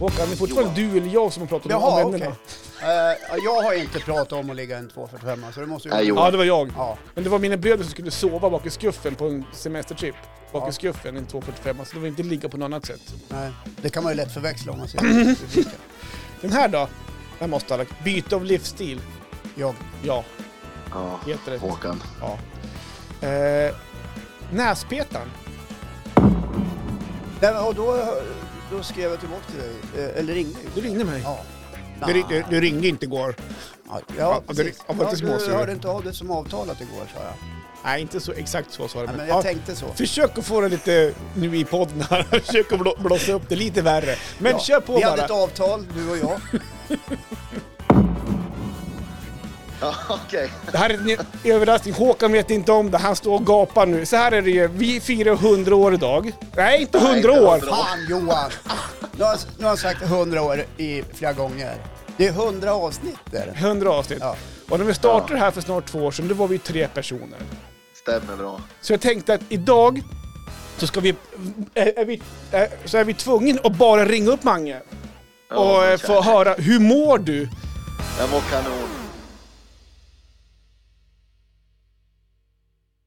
Och det är fortfarande du eller jag som har pratat Jaha, om okej. vännerna. Eh, jag har inte pratat om att ligga en 245 så det måste ju... Nej, jo. Ja, det var jag. Ja. Men det var mina bröder som skulle sova bak i skuffen på en semestertrip. Bak i skuffen, en 245, så det var inte ligga på något annat sätt. Nej, det kan man ju lätt förväxla om man ser det. Den här då? Den måste alla... Byte av livsstil. Jag, Ja, Ja, helt rätt. Håkan. Ja. Eh, näspetan. nej, men, och då, då skrev jag tillbaka till dig, eh, eller ringde ju. Du ringde mig. Ja. Du, ri- du, du ringde inte igår. Ja, Ja, ja, det- precis. ja, var inte ja, småsur. du hörde inte av dig som avtalat igår sa jag. Nej, inte så exakt så sa det. Nej, men men- jag ja, tänkte så. Försök att få det lite nu i podden här. Försök att blå, blåsa upp det lite värre. Men Ja, kör på Vi bara. hade ett avtal, du och jag. Ja, okej. Det här är en ny- överraskning. Håkan vet inte om det. Han står och gapar nu. Så här är det ju. Vi firar 100 år idag. Nej, inte Nej, 100 inte år. 100 år. Fan Johan! Nu har, nu har jag sagt 100 år i flera gånger. Det är 100 avsnitt är det. 100 avsnitt. Ja. Och när vi startade det här för snart två år sedan, då var vi ju tre personer. Stämmer bra. Så jag tänkte att idag så, ska vi, är, är vi, är, så är vi tvungna att bara ringa upp Mange Ja, och men eh, få kärlek. höra hur mår du? Jag mår kanon.